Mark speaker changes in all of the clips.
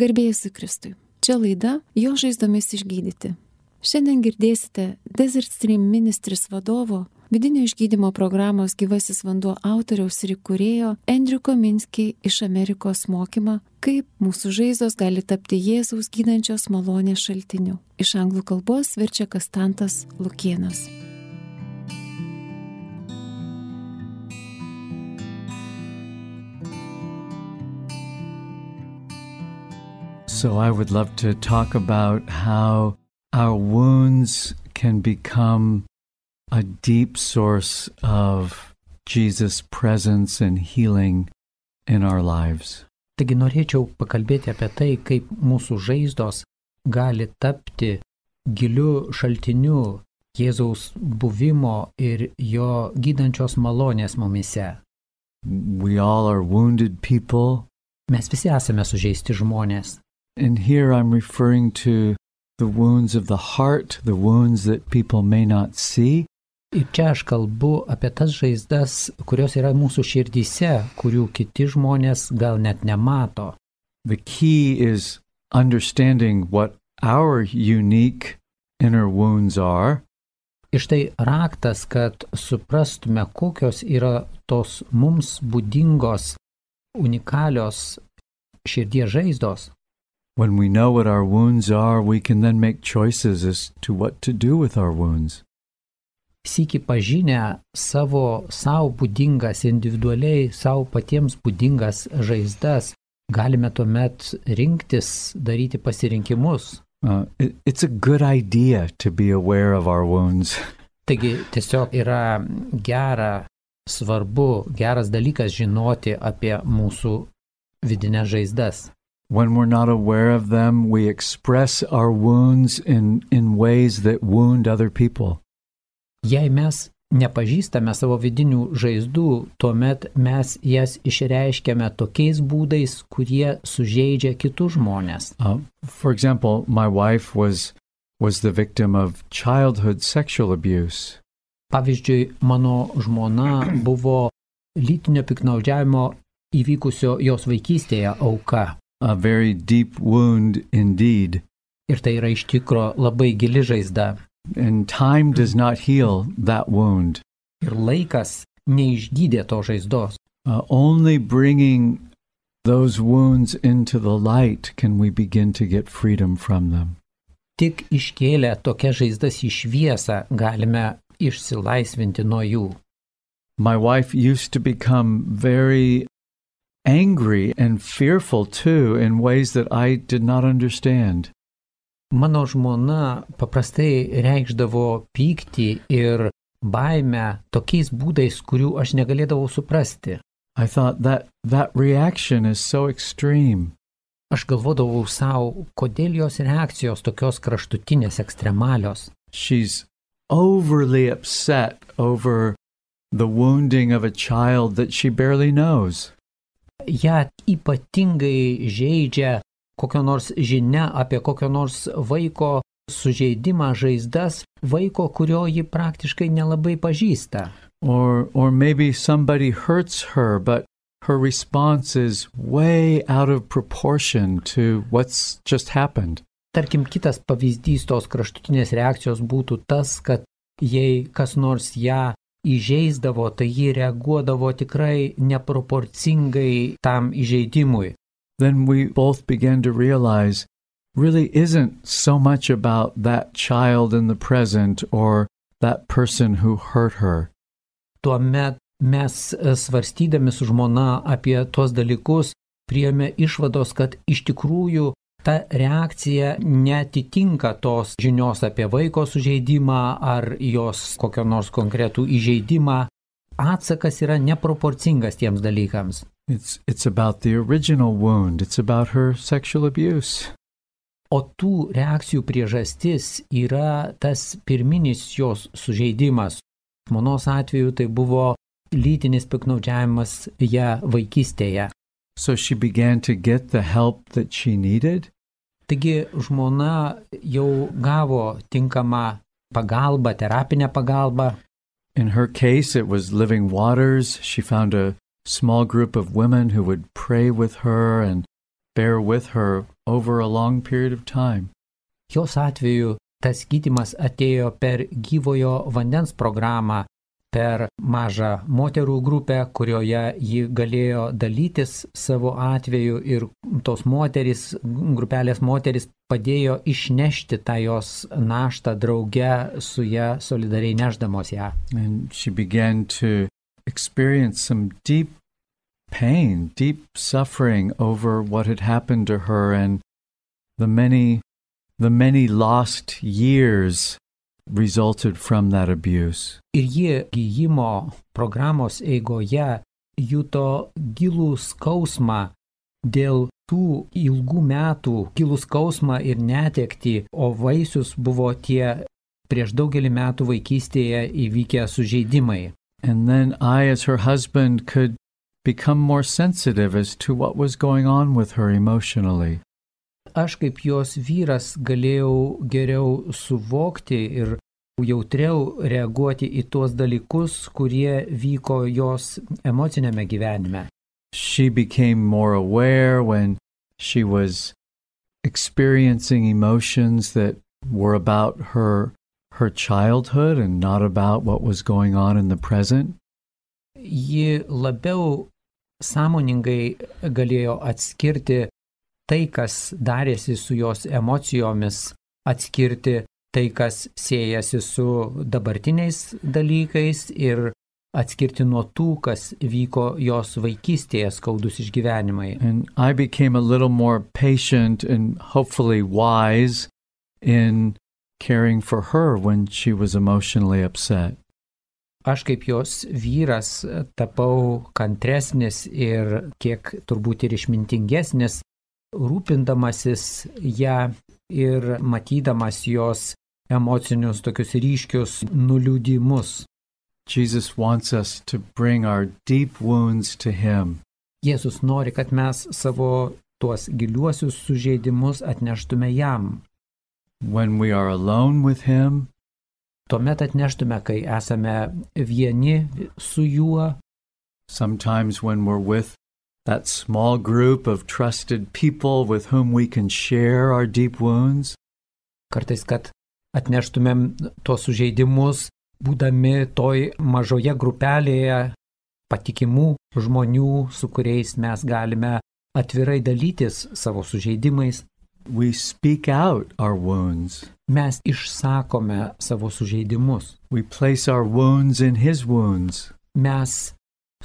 Speaker 1: Garbėjusi Kristui. Čia laida Jo žaizdomis išgydyti. Šiandien girdėsite Desert Stream Ministries vadovo, vidinio išgydymo programos gyvasis vanduo autoriaus ir įkūrėjo Andrew Kominski iš Amerikos mokymą, kaip mūsų žaizdos gali tapti Jėzaus gydančios malonės šaltiniu. Iš anglų kalbos verčia Kastantas Lukienas.
Speaker 2: So, I would love to talk about how our wounds can become a deep source of Jesus' presence and healing in our lives.
Speaker 3: Taigi norėčiau pakalbėti apie tai, kaip mūsų žaizdos gali tapti giliu šaltiniu Jėzaus buvimo ir jo gydančios malonės mumise.
Speaker 2: We all are wounded people,
Speaker 3: Mes visi esame sužeisti žmonės.
Speaker 2: and here I'm referring to the wounds of the heart, the wounds that people may not see,
Speaker 3: Ir čia aš kalbu apie tas žaizdas, kurios yra mūsų širdyse, kurių kiti žmonės gal net nemato.
Speaker 2: The key is understanding what our unique inner wounds are
Speaker 3: Ir štai raktas, kad suprastume, kokios yra tos mums būdingos, unikalios širdies žaizdos.
Speaker 2: When we know what our wounds are, we can then make choices as to what to do with our wounds.
Speaker 3: Sykį pažinę savo savo būdingas, individualiai savo patiems būdingas žaizdas, galime tuomet rinktis, daryti pasirinkimus.
Speaker 2: Uh, it, it's a good idea to be aware of our wounds.
Speaker 3: Taigi tiesiog yra gera, svarbu, geras dalykas žinoti apie mūsų vidinės žaizdas.
Speaker 2: When we're not aware of them, we express our wounds in, in ways that wound other people.
Speaker 3: Jei mes nepažįstame savo vidinių žaizdų, tuomet mes jas išreiškiame tokiais būdais, kurie sužeidžia kitus žmonės.
Speaker 2: Uh, for example, my wife was, was the victim of childhood sexual abuse.
Speaker 3: Pavyzdžiui, mano žmona buvo lytinio piknaudžiavimo įvykusio jos vaikystėje auka.
Speaker 2: A very deep wound indeed.
Speaker 3: Ir tai yra iš tikro labai gili žaizda.
Speaker 2: And time does not heal that wound.
Speaker 3: ir laikas neišgydė to žaizdos.
Speaker 2: Uh, only bringing those wounds into the light can we begin to get freedom from them.
Speaker 3: Tik iškėlę tokias žaizdas į šviesą galime išsilaisvinti nuo jų.
Speaker 2: My wife used to become very angry and fearful too in ways that I did not understand.
Speaker 3: Mano žmona paprastai reikšdavo pyktį ir baimę tokiais būdais, kurių aš negalėdavau suprasti.
Speaker 2: I thought that that reaction is so extreme.
Speaker 3: Aš galvodavau savo, kodėl jos reakcijos tokios kraštutinės ekstremalios.
Speaker 2: She's overly upset over the wounding of a child that she barely knows.
Speaker 3: ją ypatingai žaidžia kokio nors žinia apie kokio nors vaiko sužeidimą žaizdas, vaiko, kurio ji praktiškai nelabai pažįsta.
Speaker 2: Or, or maybe somebody hurts her, but her response is way out of proportion to what's just happened.
Speaker 3: Tarkim, kitas pavyzdys tos kraštutinės reakcijos būtų tas, kad jei kas nors ją įžeisdavo, tai ji reaguodavo tikrai neproporcingai tam įžeidimui.
Speaker 2: Then we both began to realize really isn't so much about that child in the present or that person who hurt her.
Speaker 3: Tuomet mes e, svarstydami su žmona apie tuos dalykus priėmė išvados, kad iš tikrųjų ta reakcija netitinka tos žinios apie vaiko sužeidimą ar jos kokio nors konkretų įžeidimą. Atsakas yra neproporcingas tiems dalykams.
Speaker 2: It's, it's about the original wound, it's about her sexual abuse.
Speaker 3: O tų reakcijų priežastis yra tas pirminis jos sužeidimas. Žmonos atveju tai buvo lytinis piknaudžiavimas ją vaikystėje.
Speaker 2: So she began to get the help that she needed.
Speaker 3: Taigi žmona jau gavo tinkamą pagalbą, terapinę pagalbą.
Speaker 2: In her case, it was Living Waters. She found a small group of women who would pray with her and bear with her over a long period of time.
Speaker 3: Jos atveju tas gydimas atėjo per gyvojo vandens programą, per mažą moterų grupę, kurioje ji galėjo dalytis savo atveju ir tos moteris, grupelės moteris padėjo išnešti tą jos naštą drauge su ją solidariai neždamos ją.
Speaker 2: And she began to experience some deep pain, deep suffering over what had happened to her and the many the many lost years resulted from that abuse.
Speaker 3: Ir ji gyjimo programos eigoje juto gilų skausmą dėl tų ilgų metų, gilų skausmą ir netekti, o vaisius buvo tie prieš daugelį metų vaikystėje įvykę sužeidimai.
Speaker 2: And then I as her husband could become more sensitive as to what was going on with her emotionally.
Speaker 3: Aš kaip jos vyras galėjau geriau suvokti ir jautriau reaguoti į tuos dalykus, kurie vyko jos emocinėme gyvenime.
Speaker 2: She became more aware when she was experiencing emotions that were about her her childhood and not about what was going on in the present.
Speaker 3: ji labiau sąmoningai galėjo atskirti tai, kas darėsi su jos emocijomis, atskirti tai, kas siejasi su dabartiniais dalykais ir atskirti nuo tų, kas vyko jos vaikystėje skaudus išgyvenimai.
Speaker 2: And I became a little more patient and hopefully wise in caring for her when she was emotionally upset.
Speaker 3: Aš kaip jos vyras tapau kantresnis ir kiek turbūt ir išmintingesnis, rūpindamasis ją ir matydamas jos emocinius tokius ryškius nuliūdimus.
Speaker 2: Jesus wants us to bring our deep wounds to Him.
Speaker 3: Jėzus nori, kad mes savo tuos giliuosius sužeidimus atneštume jam.
Speaker 2: When we are alone with Him,
Speaker 3: Tuomet atneštume, kai esame vieni su juo,
Speaker 2: sometimes when we're with that small group of trusted people with whom we can share our deep wounds,
Speaker 3: kartais, kad atneštumėm tuos sužeidimus, būdami toj mažoje grupelėje patikimų žmonių, su kuriais mes galime atvirai dalytis savo sužeidimais.
Speaker 2: we speak out our wounds.
Speaker 3: Mes išsakome savo sužeidimus.
Speaker 2: We place our wounds in His wounds.
Speaker 3: Mes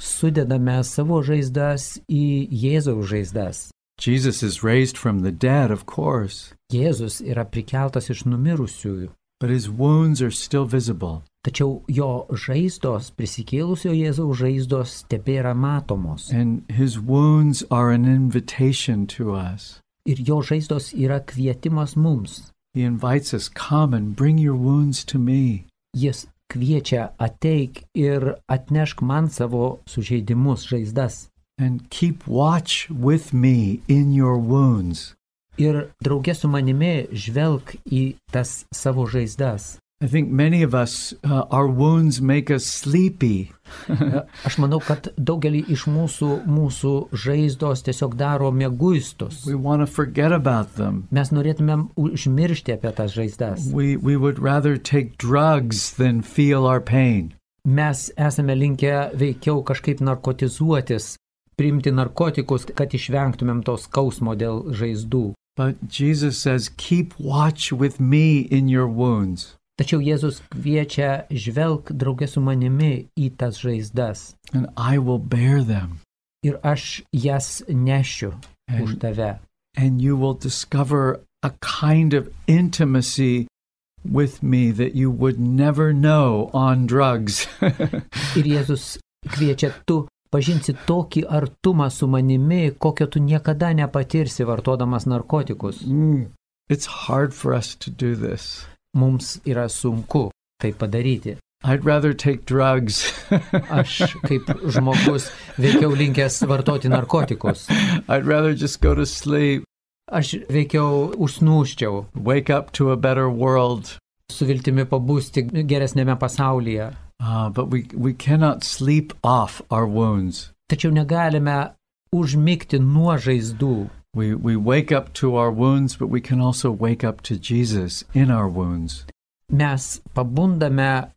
Speaker 3: sudedame savo žaizdas į Jėzaus žaizdas.
Speaker 2: Jesus is raised from the dead, of course,
Speaker 3: Jėzus yra prikeltas iš numirusiųjų,
Speaker 2: but His wounds are still visible.
Speaker 3: tačiau jo žaizdos, prisikėlusio Jėzaus žaizdos, tebėra matomos.
Speaker 2: And His wounds are an invitation to us.
Speaker 3: Ir jo žaizdos yra kvietimas mums.
Speaker 2: He invites us, Come and bring your wounds to me.
Speaker 3: Jis kviečia ateik ir atnešk man savo sužeidimus, žaizdas.
Speaker 2: and keep watch with me in your wounds.
Speaker 3: Ir draugė su manimi žvelg į tas savo žaizdas.
Speaker 2: I think many of us, uh, our wounds make us sleepy.
Speaker 3: Aš manau, kad daugelį iš mūsų, mūsų žaizdos tiesiog daro mėguistus.
Speaker 2: we want to forget about them.
Speaker 3: Mes norėtumėm užmiršti apie tas žaizdas.
Speaker 2: We, we would rather take drugs than feel our pain.
Speaker 3: Mes esame linkę veikiau kažkaip narkotizuotis, priimti narkotikus, kad išvengtumėm to skausmo dėl žaizdų.
Speaker 2: But Jesus says, keep watch with me in your wounds.
Speaker 3: Tačiau Jėzus kviečia žvelg draugė su manimi į tas žaizdas
Speaker 2: And I will bear them,
Speaker 3: ir aš jas nešiu už
Speaker 2: And-
Speaker 3: tave.
Speaker 2: and you will discover a kind of intimacy with me that you would never know on drugs.
Speaker 3: Ir Jėzus kviečia tu pažinsi tokį artumą su manimi, kokio tu niekada nepatirsi vartodamas narkotikus.
Speaker 2: Mm. It's hard for us to do this.
Speaker 3: Mums yra sunku tai padaryti.
Speaker 2: I'd rather take drugs.
Speaker 3: Aš kaip žmogus veikiau linkęs vartoti narkotikus.
Speaker 2: I'd rather just go to sleep,
Speaker 3: Aš veikiau užsnūščiau
Speaker 2: wake up to a better world.
Speaker 3: su viltimi pabūsti geresnėme pasaulyje.
Speaker 2: Uh, but we, we cannot sleep off our wounds.
Speaker 3: Tačiau negalime užmigti nuo žaizdų.
Speaker 2: We, we wake up to our wounds, but we can also wake up to Jesus in our wounds.
Speaker 3: Mes pabundame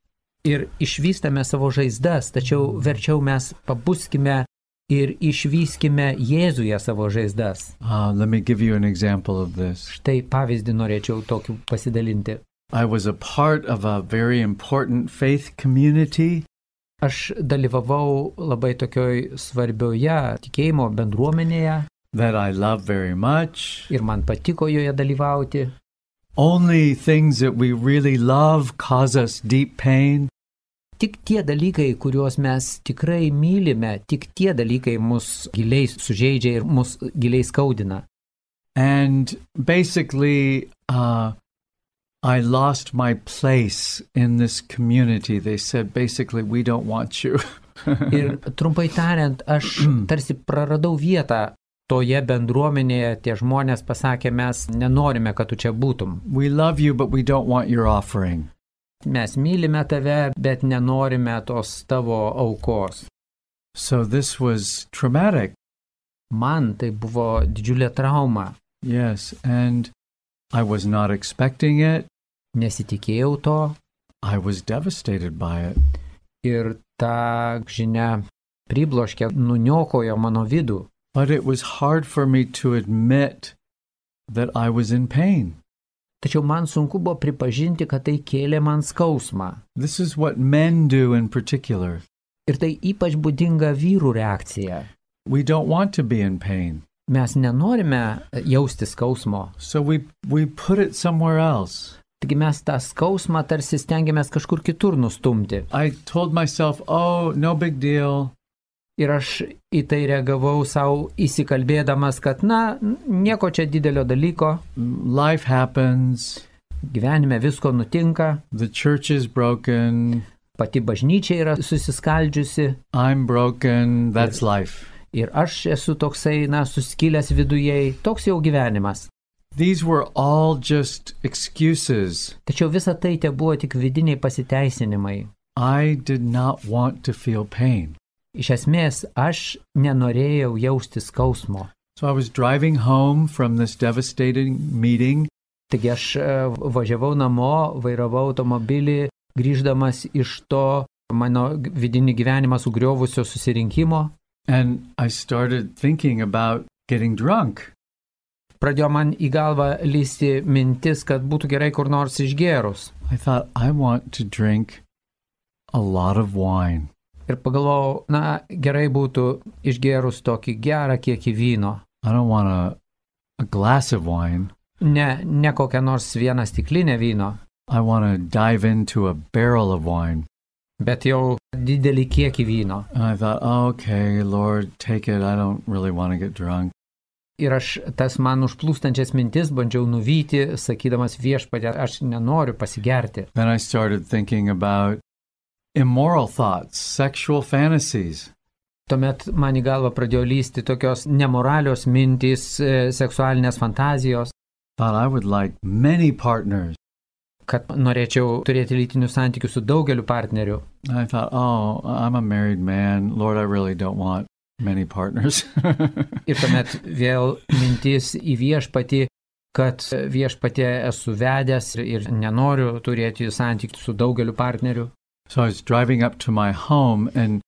Speaker 3: ir išvystame savo žaizdas, tačiau verčiau mes pabuskime ir išvyskime Jėzuje savo žaizdas.
Speaker 2: Uh, let me give you an example of this.
Speaker 3: Štai pavyzdį norėčiau tokiu pasidalinti.
Speaker 2: I was a part of a very important faith community
Speaker 3: Aš dalyvavau labai tokioj svarbioje tikėjimo bendruomenėje
Speaker 2: that I love very much.
Speaker 3: ir man patiko joje dalyvauti.
Speaker 2: Only things that we really love cause us deep pain.
Speaker 3: Tik tie dalykai, kuriuos mes tikrai mylime, tik tie dalykai mus giliai sužeidžia ir mus giliai skaudina.
Speaker 2: And basically, uh, I lost my place in this community. They said, basically, we don't want you.
Speaker 3: Ir trumpai tariant, aš tarsi praradau vietą toje bendruomenėje, tie žmonės pasakė, mes nenorime, kad tu čia būtum.
Speaker 2: we love you, but we don't want your offering.
Speaker 3: Mes mylime tave, bet nenorime tos tavo aukos.
Speaker 2: So this was traumatic.
Speaker 3: Man tai buvo didžiulė trauma.
Speaker 2: Yes. And I was not expecting it.
Speaker 3: Nesitikėjau to
Speaker 2: I was devastated by it.
Speaker 3: ir ta žinia pribloškė, nuniokojo mano vidų.
Speaker 2: But it was hard for me to admit that I was in pain.
Speaker 3: Tačiau man sunku buvo pripažinti, kad tai kėlė man skausmą.
Speaker 2: This is what men do in particular.
Speaker 3: Ir tai ypač būdinga vyrų reakcija.
Speaker 2: We don't want to be in pain.
Speaker 3: Mes nenorime jausti skausmo.
Speaker 2: So we, we put it somewhere else.
Speaker 3: Taigi mes tą skausmą tarsi stengiamės kažkur kitur nustumti.
Speaker 2: I told myself, oh, no big deal.
Speaker 3: Ir aš į tai reagavau savo įsikalbėdamas, kad na, nieko čia didelio dalyko,
Speaker 2: Life happens.
Speaker 3: gyvenime visko nutinka,
Speaker 2: The church is broken.
Speaker 3: pati bažnyčia yra susiskaldžiusi
Speaker 2: I'm broken. That's life.
Speaker 3: ir aš esu toksai, na, suskilęs vidujei, toks jau gyvenimas.
Speaker 2: These were all just excuses.
Speaker 3: Tačiau visa tai te buvo tik vidiniai pasiteisinimai.
Speaker 2: I did not want to feel pain.
Speaker 3: Iš esmės, aš nenorėjau jausti skausmo.
Speaker 2: So I was driving home from this devastating meeting,
Speaker 3: Taigi aš e, važiavau namo, vairavau automobilį, grįždamas iš to mano vidinį gyvenimą sugriovusio susirinkimo.
Speaker 2: and I started thinking about getting drunk.
Speaker 3: Pradėjo man į galvą lysti mintis, kad būtų gerai kur nors išgerus.
Speaker 2: I thought, I want to drink a lot of wine.
Speaker 3: Ir pagalvojau, na gerai būtų išgerus tokį gerą kiekį vyno.
Speaker 2: I don't want a, a glass of wine.
Speaker 3: Ne, ne kokią nors vieną stiklinę vyno,
Speaker 2: I want to dive into a barrel of wine.
Speaker 3: bet jau didelį kiekį vyno.
Speaker 2: And I thought, oh, okay, Lord, take it. I don't really want to get drunk.
Speaker 3: Ir aš tas man užplūstančias mintis bandžiau nuvyti, sakydamas viešpatė, aš nenoriu pasigerti.
Speaker 2: Then I started thinking about immoral thoughts, sexual fantasies.
Speaker 3: Tuomet man į galvą pradėjo lysti tokios nemoralios mintys, e, seksualinės fantazijos,
Speaker 2: Thought I would like many partners.
Speaker 3: kad norėčiau turėti lytinių santykių su daugeliu partnerių.
Speaker 2: And I thought, oh, I'm a married man. Lord, I really don't want many partners.
Speaker 3: Ir tuomet vėl mintis į viešpatį, kad e, viešpatė esu vedęs ir- ir nenoriu turėti santykių su daugeliu partnerių.
Speaker 2: so I was driving up to my home and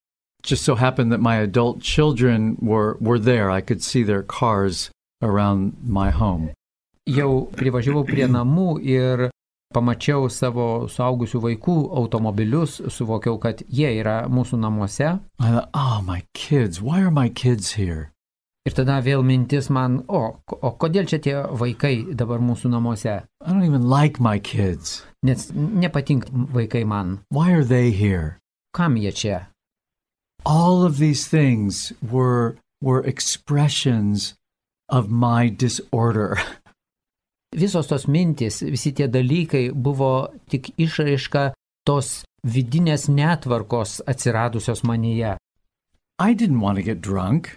Speaker 2: just so happened that my adult children were, were there. I could see their cars around my home.
Speaker 3: Jau privažiavau prie namų ir pamačiau savo suaugusių vaikų automobilius, suvokiau, kad jie yra mūsų namuose.
Speaker 2: I thought, oh, my kids, why are my kids here?
Speaker 3: Ir tada vėl mintis man, o, o kodėl čia tie vaikai dabar mūsų namuose?
Speaker 2: I don't even like my kids.
Speaker 3: Nes nepatinka vaikai man.
Speaker 2: Why are they here?
Speaker 3: Kam jie čia?
Speaker 2: all of these things were were expressions of my disorder
Speaker 3: Visos tos mintis, visi tie dalykai buvo tik išraiška tos vidinės netvarkos atsiradusios manyje.
Speaker 2: i didn't want to get drunk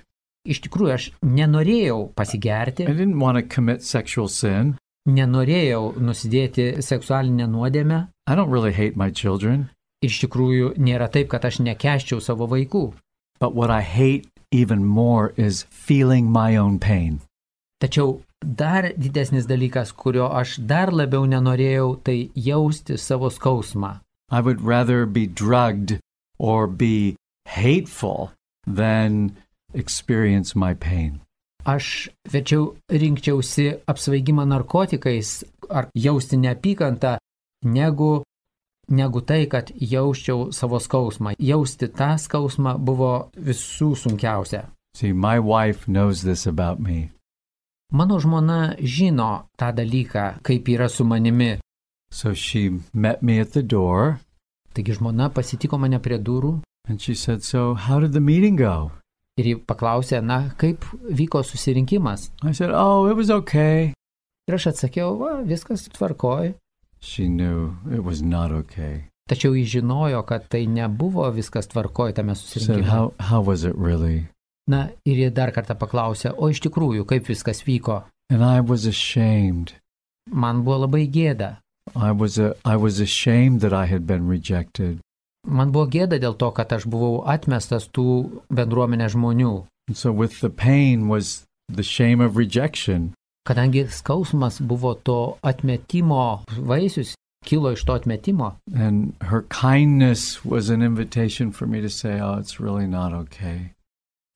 Speaker 3: Iš tikrųjų, aš nenorėjau
Speaker 2: i
Speaker 3: pasigerti,
Speaker 2: didn't want to commit sexual sin
Speaker 3: nenorėjau nusidėti seksualinę nuodėmę.
Speaker 2: i don't really hate my children
Speaker 3: Ir iš tikrųjų, nėra taip, kad aš nekeščiau savo vaikų.
Speaker 2: but what i hate even more is feeling my own pain
Speaker 3: Tačiau dar didesnis dalykas, kurio aš dar labiau nenorėjau, tai jausti savo skausmą.
Speaker 2: I would rather be drugged or be hateful than experience my pain.
Speaker 3: Aš verčiau rinkčiausi apsvaigimą narkotikais ar jausti neapykantą, negu, negu tai, kad jausčiau savo skausmą. Jausti tą skausmą buvo visų sunkiausia.
Speaker 2: See, my wife knows this about me.
Speaker 3: Mano žmona žino tą dalyką, kaip yra su manimi.
Speaker 2: So she met me at the door
Speaker 3: Taigi žmona pasitiko mane prie durų
Speaker 2: and she said, So, how did the meeting go?
Speaker 3: ir ji paklausė, na, kaip vyko susirinkimas.
Speaker 2: I said, Oh, it was okay.
Speaker 3: Ir aš atsakiau, va, viskas tvarkoj.
Speaker 2: She knew it was not okay.
Speaker 3: Tačiau jis žinojo, kad tai nebuvo viskas tvarkoj tame
Speaker 2: She said,
Speaker 3: susirinkime.
Speaker 2: How, how was it really?
Speaker 3: Na, ir ji dar kartą paklausė, o iš tikrųjų, kaip viskas vyko.
Speaker 2: And I was ashamed.
Speaker 3: Man buvo labai gėda.
Speaker 2: I was, a, I was ashamed that I had been rejected.
Speaker 3: Man buvo gėda dėl to, kad aš buvau atmestas tų bendruomenės žmonių.
Speaker 2: And so, with the pain was the shame of rejection.
Speaker 3: Kadangi skausmas buvo to atmetimo vaisius, kilo iš to atmetimo.
Speaker 2: And her kindness was an invitation for me to say, Oh, it's really not okay.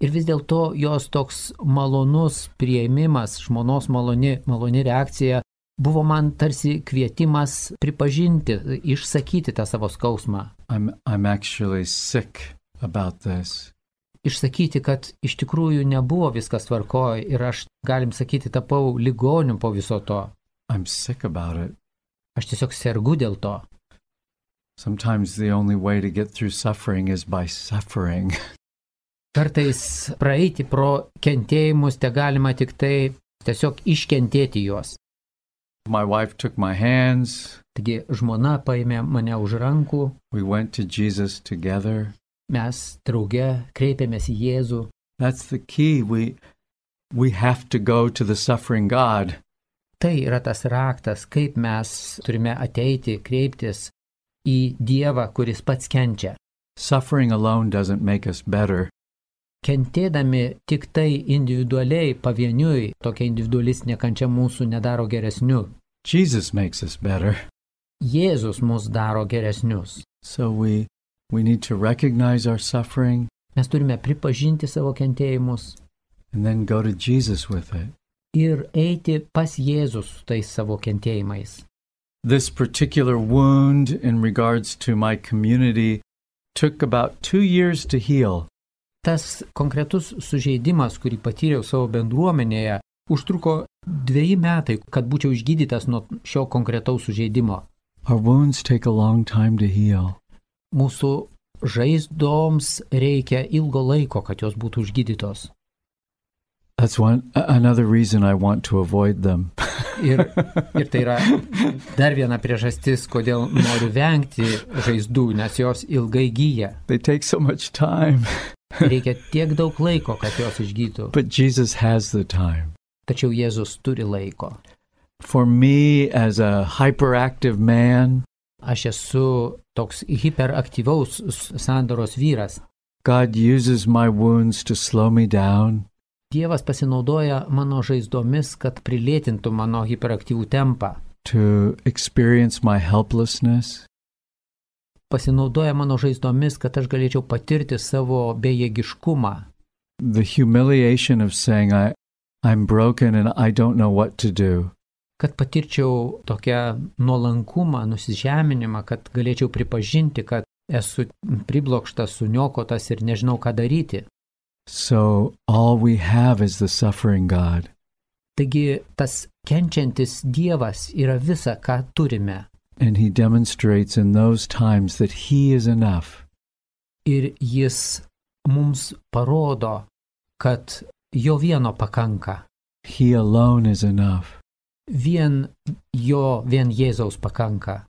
Speaker 3: Ir vis dėlto jos toks malonus prieimimas, žmonos maloni, maloni reakcija buvo man tarsi kvietimas pripažinti, išsakyti tą savo skausmą.
Speaker 2: I'm, I'm actually sick about this.
Speaker 3: Išsakyti, kad iš tikrųjų nebuvo viskas tvarkoje ir aš, galim sakyti, tapau ligoniu po viso to.
Speaker 2: I'm sick about it.
Speaker 3: Aš tiesiog sergu dėl to.
Speaker 2: Sometimes the only way to get through suffering is by suffering.
Speaker 3: Kartais praeiti pro kentėjimus te galima tik tai tiesiog iškentėti juos.
Speaker 2: My wife took my hands.
Speaker 3: Taigi žmona paėmė mane už rankų,
Speaker 2: We went to Jesus together.
Speaker 3: mes drauge kreipėmės į Jėzų.
Speaker 2: That's the key. We we have to go to the suffering God.
Speaker 3: Tai yra tas raktas, kaip mes turime ateiti, kreiptis į Dievą, kuris pats kenčia.
Speaker 2: Suffering alone doesn't make us better.
Speaker 3: Kentėdami tik tai individualiai, pavieniui, tokia individualistinė kančia mūsų nedaro geresnių.
Speaker 2: Jesus makes us better.
Speaker 3: Jėzus mus daro geresnius.
Speaker 2: So we we need to recognize our suffering
Speaker 3: Mes turime pripažinti savo kentėjimus
Speaker 2: and then go to Jesus with it.
Speaker 3: ir eiti pas Jėzus su tais savo kentėjimais.
Speaker 2: This particular wound in regards to my community took about 2 years to heal.
Speaker 3: Tas konkretus sužeidimas, kurį patyriau savo bendruomenėje, užtruko dviejai metai, kad būčiau išgydytas nuo šio konkretaus sužeidimo.
Speaker 2: Our wounds take a long time to heal.
Speaker 3: Mūsų žaizdoms reikia ilgo laiko, kad jos būtų užgydytos.
Speaker 2: That's one a- another reason I want to avoid them.
Speaker 3: Ir, ir tai yra dar viena priežastis, kodėl noriu vengti žaizdų, nes jos ilgai gyja.
Speaker 2: They take so much time.
Speaker 3: Reikia tiek daug laiko, kad jos išgytų.
Speaker 2: But Jesus has the time.
Speaker 3: Tačiau Jėzus turi laiko.
Speaker 2: For me, as a hyperactive man,
Speaker 3: Aš esu toks hiperaktyvaus s- sandaros vyras.
Speaker 2: God uses my wounds to slow me down,
Speaker 3: Dievas pasinaudoja mano žaizdomis, kad prilėtintų mano hiperaktyvų tempą.
Speaker 2: to experience my helplessness,
Speaker 3: Pasinaudoja mano žaizdomis, kad aš galėčiau patirti savo bejėgiškumą.
Speaker 2: the humiliation of saying, I, I'm broken and I don't know what to do.
Speaker 3: Kad patirčiau tokią nuolankumą, nusižeminimą, kad galėčiau pripažinti, kad esu priblokštas, suniokotas ir nežinau, ką daryti.
Speaker 2: So all we have is the suffering God.
Speaker 3: Taigi tas kenčiantis Dievas yra visa, ką turime.
Speaker 2: And He demonstrates in those times that He is enough.
Speaker 3: ir jis mums parodo, kad jo vieno pakanka.
Speaker 2: He alone is enough.
Speaker 3: Vien jo, vien Jėzaus pakanka.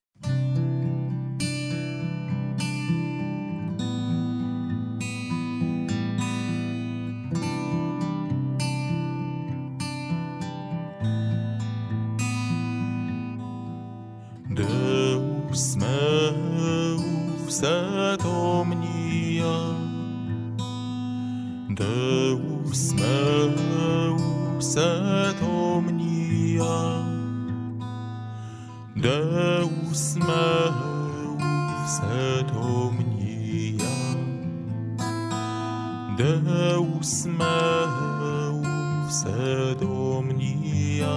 Speaker 4: Deus meus et omnia Deus meus et omnia omnia Deus meus et omnia Deus meus et omnia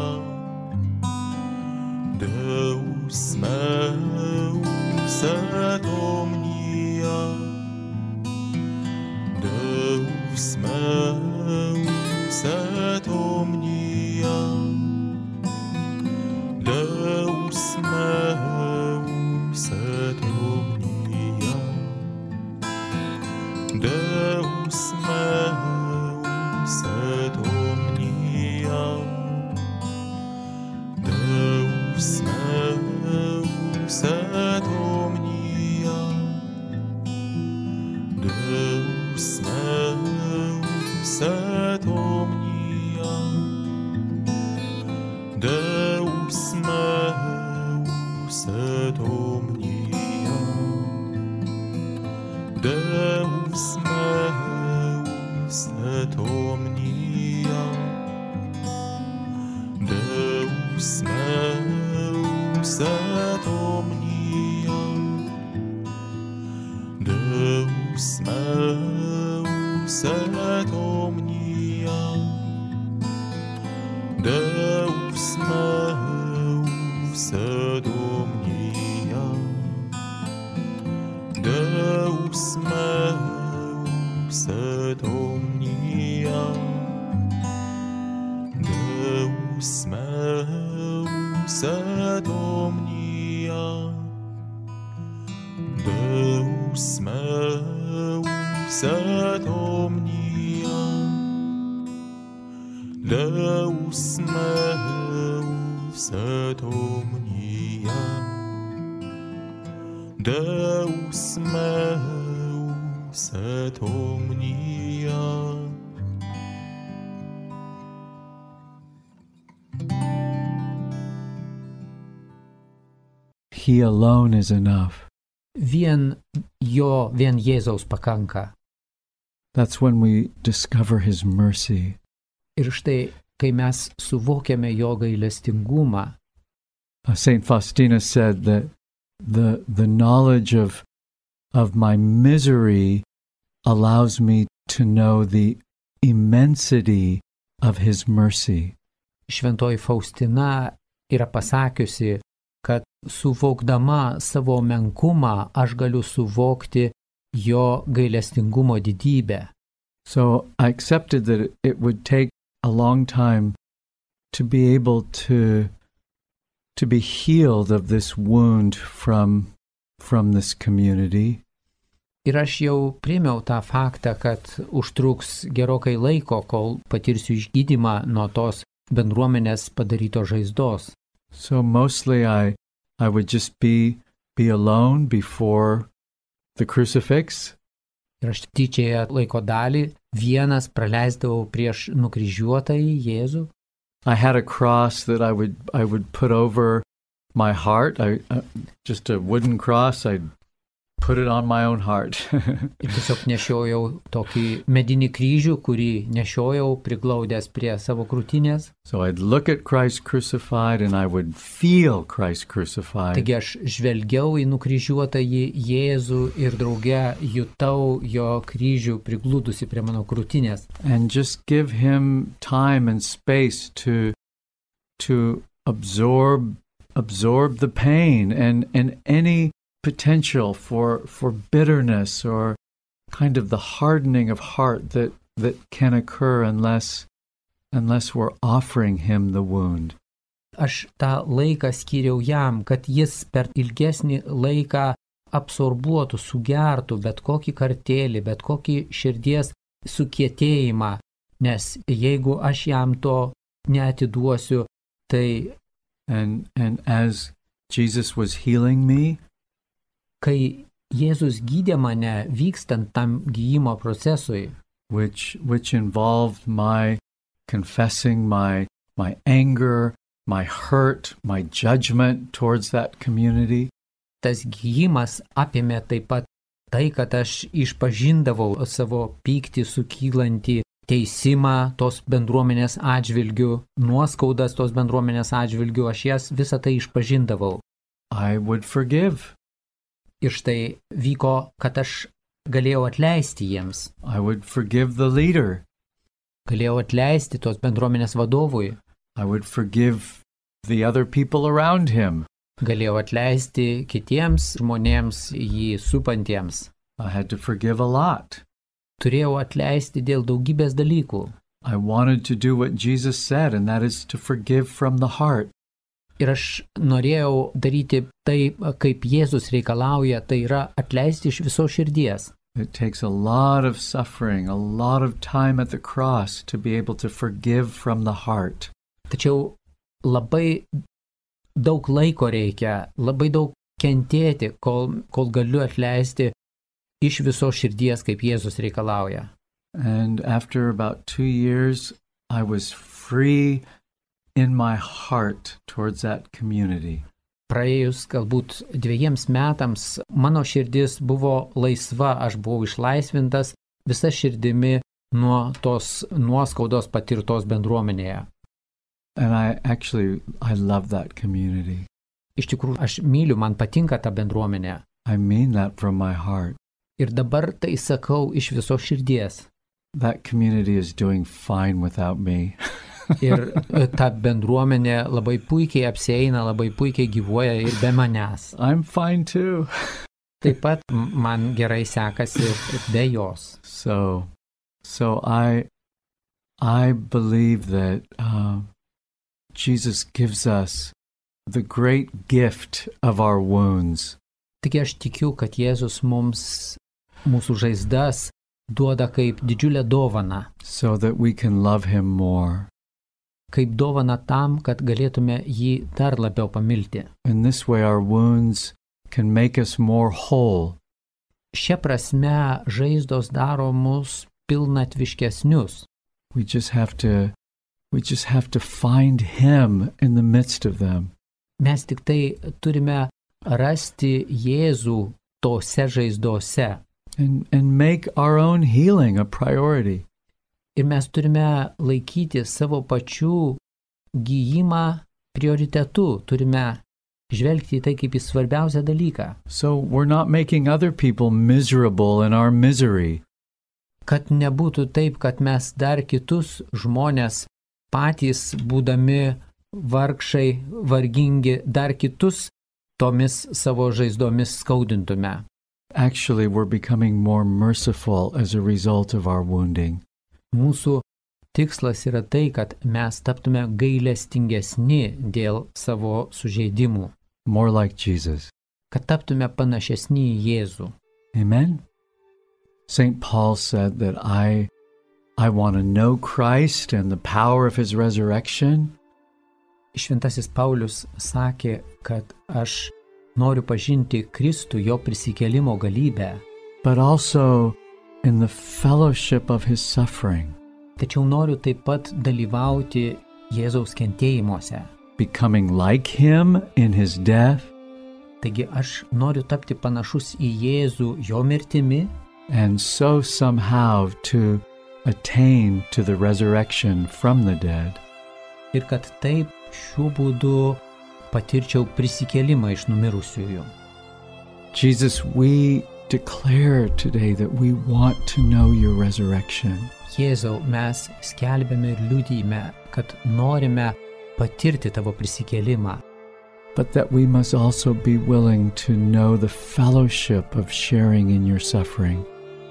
Speaker 4: Deus meus et omnia Deus meus et omnia Deus meus et omnia Deus meus et omnia Deus meus et omnia Deus meus et omnia Deus meus et omnia Deus meus et omnia Deus meus et omnia Deus meus et omnia Deus meus et omnia Deus meus et omnia Deus meus et omnia Deus meus et omnia Deus meus et omnia Deus meus et omnia
Speaker 2: He alone is enough.
Speaker 3: Vien jo, vien Jėzaus pakanka.
Speaker 2: That's when we discover His mercy.
Speaker 3: Ir štai, kai mes suvokiame jo gailestingumą,
Speaker 2: Uh, Saint Faustina said that the the knowledge of of my misery allows me to know the immensity of his mercy.
Speaker 3: šventoji Faustina yra pasakiusi, kad suvokdama savo menkumą aš galiu suvokti jo gailestingumo didybę.
Speaker 2: So I accepted that it- it would take a long time to be able to to be healed of this wound from from this community.
Speaker 3: Ir aš jau primiau tą faktą, kad užtruks gerokai laiko, kol patirsiu išgydymą nuo tos bendruomenės padarytos žaizdos.
Speaker 2: So mostly I I would just be be alone before the crucifix
Speaker 3: Ir aš tyčiąją laiko dalį vienas praleisdavau prieš nukryžiuotąjį Jėzų.
Speaker 2: I had a cross that I would I would put over my heart. I uh, just a wooden cross. I'd put it on my own heart.
Speaker 3: Ir tiesiog nešiojau tokį medinį kryžių, kurį nešiojau priglaudęs prie savo krūtinės.
Speaker 2: so I'd look at Christ crucified and I would feel Christ crucified.
Speaker 3: Taigi aš žvelgiau į nukryžiuotąjį Jėzų ir drauge jutau jo kryžių prigludusi prie mano krūtinės.
Speaker 2: and just give him time and space to to absorb absorb the pain and and any potential for for bitterness or kind of the hardening of heart that that can occur unless unless we're offering him the wound
Speaker 3: Aš tą laiką skyriau jam, kad jis per ilgesnį laiką absorbuotų, sugertų bet kokį kartėlį, bet kokį širdies sukietėjimą, nes jeigu aš jam to neatiduosiu, tai
Speaker 2: and and as Jesus was healing me
Speaker 3: kai Jėzus gydė mane vykstant tam gyjimo procesui,
Speaker 2: which which involved my confessing my my anger, my hurt, my judgment towards that community.
Speaker 3: tas gyjimas apėmė taip pat tai, kad aš išpažindavau savo pyktį sukylantį teisimą tos bendruomenės atžvilgių, nuoskaudas tos bendruomenės atžvilgių, aš jas visą tai išpažindavau.
Speaker 2: I would forgive.
Speaker 3: Ir štai vyko, kad aš galėjau atleisti jiems,
Speaker 2: I would forgive the leader.
Speaker 3: galėjau atleisti tos bendruomenės vadovui,
Speaker 2: I would forgive the other people around him.
Speaker 3: galėjau atleisti kitiems žmonėms jį supantiems.
Speaker 2: I had to forgive a lot.
Speaker 3: Turėjau atleisti dėl daugybės dalykų.
Speaker 2: I wanted to do what Jesus said, and that is to forgive from the heart.
Speaker 3: Ir aš norėjau daryti tai, kaip Jėzus reikalauja, tai yra atleisti iš viso širdies.
Speaker 2: It takes a lot of suffering, a lot of time at the cross to be able to forgive from the heart.
Speaker 3: Tačiau labai daug laiko reikia, labai daug kentėti, kol, kol galiu atleisti iš viso širdies, kaip Jėzus reikalauja.
Speaker 2: And after about two years, I was free in my heart towards that community.
Speaker 3: Praėjus galbūt dviejiems metams mano širdis buvo laisva, aš buvau išlaisvintas visa širdimi nuo tos nuoskaudos patirtos bendruomenėje.
Speaker 2: And I actually, I love that community.
Speaker 3: Iš tikrųjų, aš myliu, man patinka ta bendruomenė.
Speaker 2: I mean that from my heart.
Speaker 3: Ir dabar tai sakau iš viso širdies.
Speaker 2: That community is doing fine without me.
Speaker 3: Ir e, ta bendruomenė labai puikiai apsieina, labai puikiai gyvuoja ir be manęs.
Speaker 2: I'm fine too.
Speaker 3: Taip pat m- man gerai sekasi ir be jos.
Speaker 2: So, so I, I believe that uh, Jesus gives us the great gift of our wounds.
Speaker 3: Tik aš tikiu, kad Jėzus mums mūsų žaizdas duoda kaip didžiulę dovaną.
Speaker 2: so that we can love him more.
Speaker 3: Kaip dovaną tam, kad galėtume jį dar labiau pamilti.
Speaker 2: In this way, our wounds can make us more whole.
Speaker 3: Šia prasme žaizdos daro mus pilnatviškesnius.
Speaker 2: We just have to, we just have to find him in the midst of them.
Speaker 3: Mes tik tai turime rasti Jėzų tose žaizdose.
Speaker 2: And, and make our own healing a priority.
Speaker 3: Ir mes turime laikyti savo pačių gyjimą prioritetu, turime žvelgti į tai kaip į svarbiausią dalyką,
Speaker 2: So we're not making other people miserable in our misery.
Speaker 3: kad nebūtų taip, kad mes dar kitus žmonės patys būdami vargšai, vargingi, dar kitus tomis savo žaizdomis skaudintume.
Speaker 2: Actually, we're becoming more merciful as a result of our wounding.
Speaker 3: Mūsų tikslas yra tai, kad mes taptume gailestingesni dėl savo sužeidimų,
Speaker 2: More like Jesus.
Speaker 3: kad taptume panašesni į Jėzų.
Speaker 2: Amen. St. Paul said that I I want to know Christ and the power of his resurrection,
Speaker 3: Šventasis Paulius sakė, kad aš noriu pažinti Kristų jo prisikėlimo galybę,
Speaker 2: but also in the fellowship of his suffering,
Speaker 3: tačiau noriu taip pat dalyvauti Jėzaus kentėjimuose.
Speaker 2: becoming like him in his death
Speaker 3: Taigi aš noriu tapti panašus į Jėzų jo mirtimi
Speaker 2: and so somehow to attain to the resurrection from the dead.
Speaker 3: ir kad taip šiuo būdu patirčiau prisikėlimą iš numirusiųjų.
Speaker 2: Jesus, we declare today that we want to know your resurrection.
Speaker 3: Jėzau, mes skelbėme ir liudyjime, kad norime patirti tavo prisikėlimą.
Speaker 2: but that we must also be willing to know the fellowship of sharing in your suffering.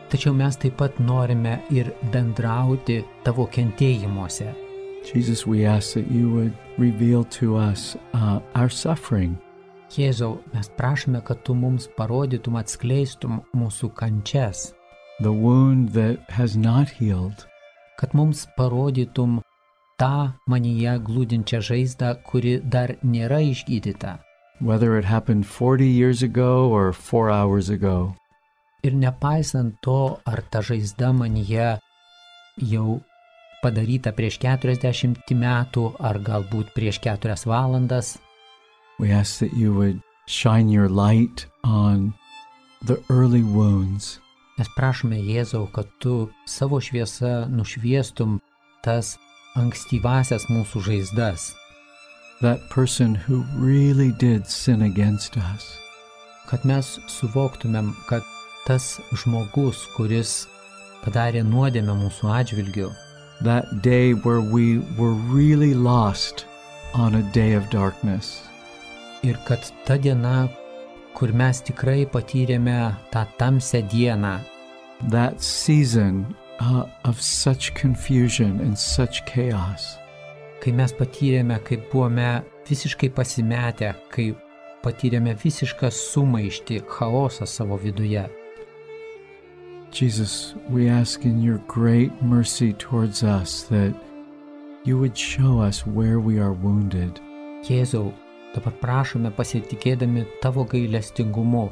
Speaker 3: Tačiau mes taip pat norime ir bendrauti tavo kentėjimuose.
Speaker 2: Jesus, we ask that you would reveal to us uh, our suffering,
Speaker 3: Jėzau, mes prašome, kad tu mums parodytum, atskleistum mūsų kančias,
Speaker 2: the wound that has not healed,
Speaker 3: kad mums parodytum tą manyje glūdinčią žaizdą, kuri dar nėra išgydyta.
Speaker 2: whether it happened 40 years ago or four hours ago.
Speaker 3: Ir nepaisant to, ar ta žaizda manyje jau padaryta prieš 40 metų, ar galbūt prieš 4 valandas,
Speaker 2: We ask that you would shine your light on the early wounds
Speaker 3: Mes prašome Jėzau, kad tu savo šviesą nušviestum tas ankstyvasias mūsų žaizdas,
Speaker 2: that person who really did sin against us.
Speaker 3: kad mes suvoktumėm, kad tas žmogus, kuris padarė nuodėmę mūsų atžvilgiu,
Speaker 2: That day where we were really lost on a day of darkness.
Speaker 3: ir kad ta diena, kur mes tikrai patyrėme tą tamsią dieną,
Speaker 2: That season uh, of such confusion and such chaos.
Speaker 3: kai mes patyrėme, kai buvome visiškai pasimetę, kai patyrėme visišką sumaištį, chaosą savo viduje.
Speaker 2: Jesus, we ask in your great mercy towards us that you would show us where we are wounded,
Speaker 3: Jėzau, dabar prašome pasitikėdami tavo gailestingumu,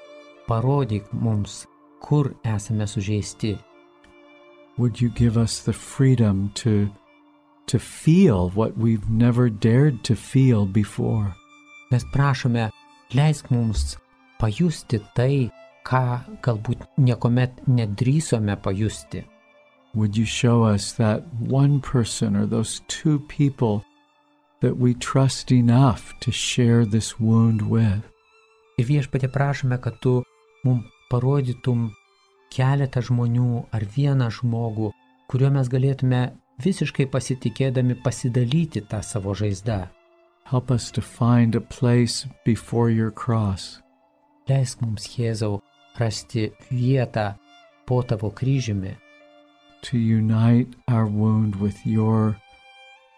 Speaker 3: parodyk mums, kur esame sužeisti,
Speaker 2: would you give us the freedom to to feel what we've never dared to feel before
Speaker 3: Mes prašome, leisk mums pajusti tai, ką galbūt niekuomet nedrysome pajusti.
Speaker 2: would you show us that one person or those two people that we trust enough to share this wound with
Speaker 3: Ir viešpatė prašome, kad tu mums parodytum keletą žmonių ar vieną žmogų, kuriuo mes galėtume visiškai pasitikėdami pasidalyti tą savo žaizdą.
Speaker 2: help us to find a place before your cross
Speaker 3: Leisk mums, Jėzau, rasti vietą po tavo kryžiumi,
Speaker 2: to unite our wound with your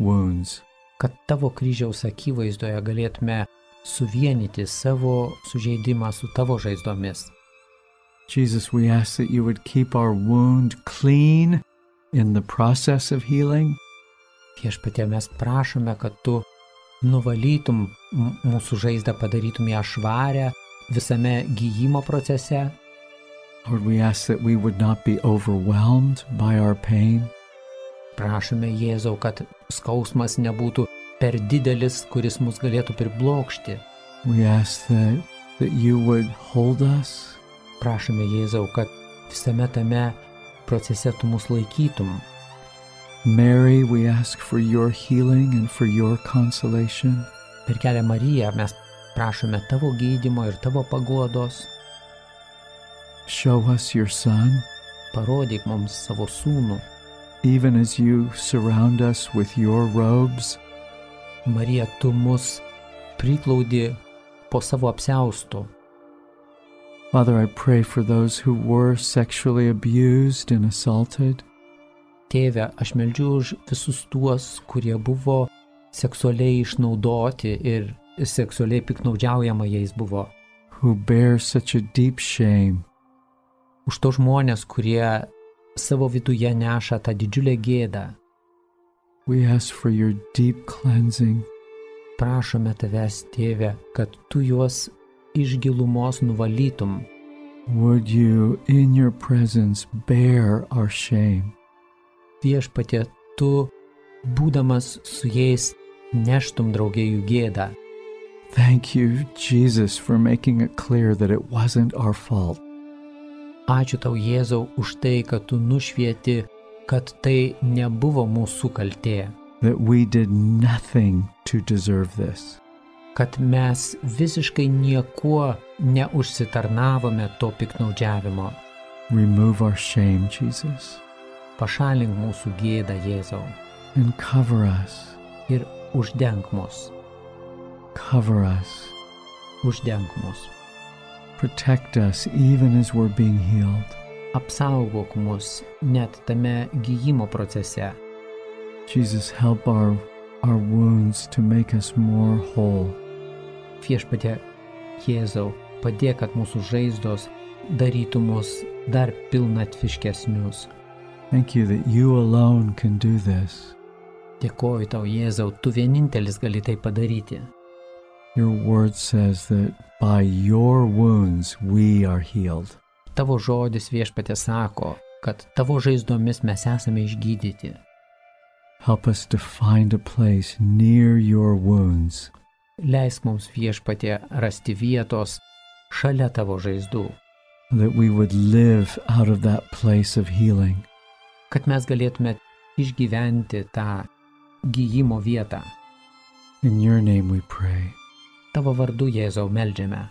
Speaker 2: wounds
Speaker 3: kad tavo kryžiaus akivaizdoje galėtume suvienyti savo sužeidimą su tavo žaizdomis.
Speaker 2: jesus we ask that you would keep our wound clean in the process of healing
Speaker 3: Viešpatie, mes prašome, kad tu nuvalytum m- mūsų žaizdą, padarytum ją švarę visame gyjimo procese.
Speaker 2: Lord, we ask that we would not be overwhelmed by our pain,
Speaker 3: Prašome Jėzau, kad skausmas nebūtų per didelis, kuris mus galėtų priblokšti.
Speaker 2: We ask that, that you would hold us,
Speaker 3: Prašome Jėzau, kad visame tame procese tu mus laikytum.
Speaker 2: Mary, we ask for your healing and for your consolation.
Speaker 3: Per kelią Mariją mes prašome tavo gydimo ir tavo paguodos.
Speaker 2: Show us your Son,
Speaker 3: Parodyk mums savo sūnų.
Speaker 2: even as you surround us with your robes.
Speaker 3: Marija, tu mus priklaudi po savo apsaustu.
Speaker 2: Father, I pray for those who were sexually abused and assaulted.
Speaker 3: Tėve, aš meldžiu už visus tuos, kurie buvo seksualiai išnaudoti ir seksualiai piknaudžiaujama jais buvo.
Speaker 2: Who bear such a deep shame,
Speaker 3: Už to žmonės, kurie savo viduje neša tą didžiulę gėdą.
Speaker 2: we ask for your deep cleansing.
Speaker 3: Prašome tavęs, tėve, kad tu juos iš gilumos nuvalytum.
Speaker 2: Would you, in your presence, bear our shame?
Speaker 3: Viešpatė, tu, būdamas su jais, neštum draugėjų gėdą.
Speaker 2: Thank you, Jesus, for making it clear that it wasn't our fault.
Speaker 3: Ačiū tau, Jėzau, už tai, kad tu nušvieti, kad tai nebuvo mūsų kaltė.
Speaker 2: that we did nothing to deserve this.
Speaker 3: kad mes visiškai niekuo neužsitarnavome to piknaudžiavimo.
Speaker 2: Remove our shame, Jesus,
Speaker 3: Pašalink mūsų gėdą, Jėzau,
Speaker 2: and cover us,
Speaker 3: ir uždenk mus,
Speaker 2: cover us,
Speaker 3: uždenk mus,
Speaker 2: protect us even as we're being healed.
Speaker 3: apsaugok mus net tame gyjimo procese.
Speaker 2: Jesus, help our, our wounds to make us more whole.
Speaker 3: Viešpatė, Jėzau, padėk, kad mūsų žaizdos darytų mus dar pilnatviškesnius.
Speaker 2: Thank you that you alone can do this.
Speaker 3: Dėkoju tau, Jėzau, tu vienintelis gali tai padaryti.
Speaker 2: Your word says that by your wounds we are healed.
Speaker 3: Tavo žodis viešpatė sako, kad tavo žaizdomis mes esame išgydyti.
Speaker 2: Help us to find a place near your wounds
Speaker 3: Leisk mums viešpatė rasti vietos šalia tavo žaizdų
Speaker 2: that we would live out of that place of healing.
Speaker 3: kad mes galėtume išgyventi tą gyjimo vietą.
Speaker 2: In your name we pray.
Speaker 3: Tavo vardu Jėzau meldžiame.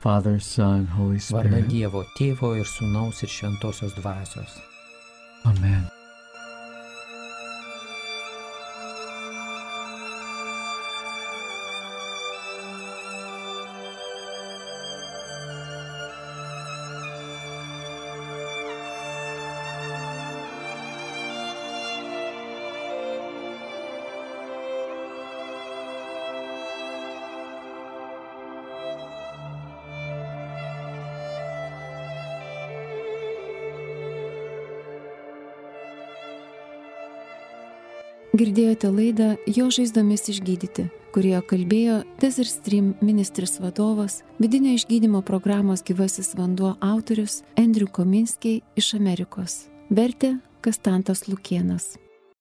Speaker 2: Father, Son, Holy
Speaker 3: Vardą
Speaker 2: Spirit.
Speaker 3: Dievo, Tėvo ir Sūnaus ir Šventosios Dvasios.
Speaker 2: Amen.
Speaker 1: Girdėjote laidą Jo žaizdomis išgydyti, kurioje kalbėjo Desert Stream ministris vadovas, vidinio išgydymo programos gyvasis vanduo autorius Andrew Kominskiai iš Amerikos. Vertė Kastantas Lukienas.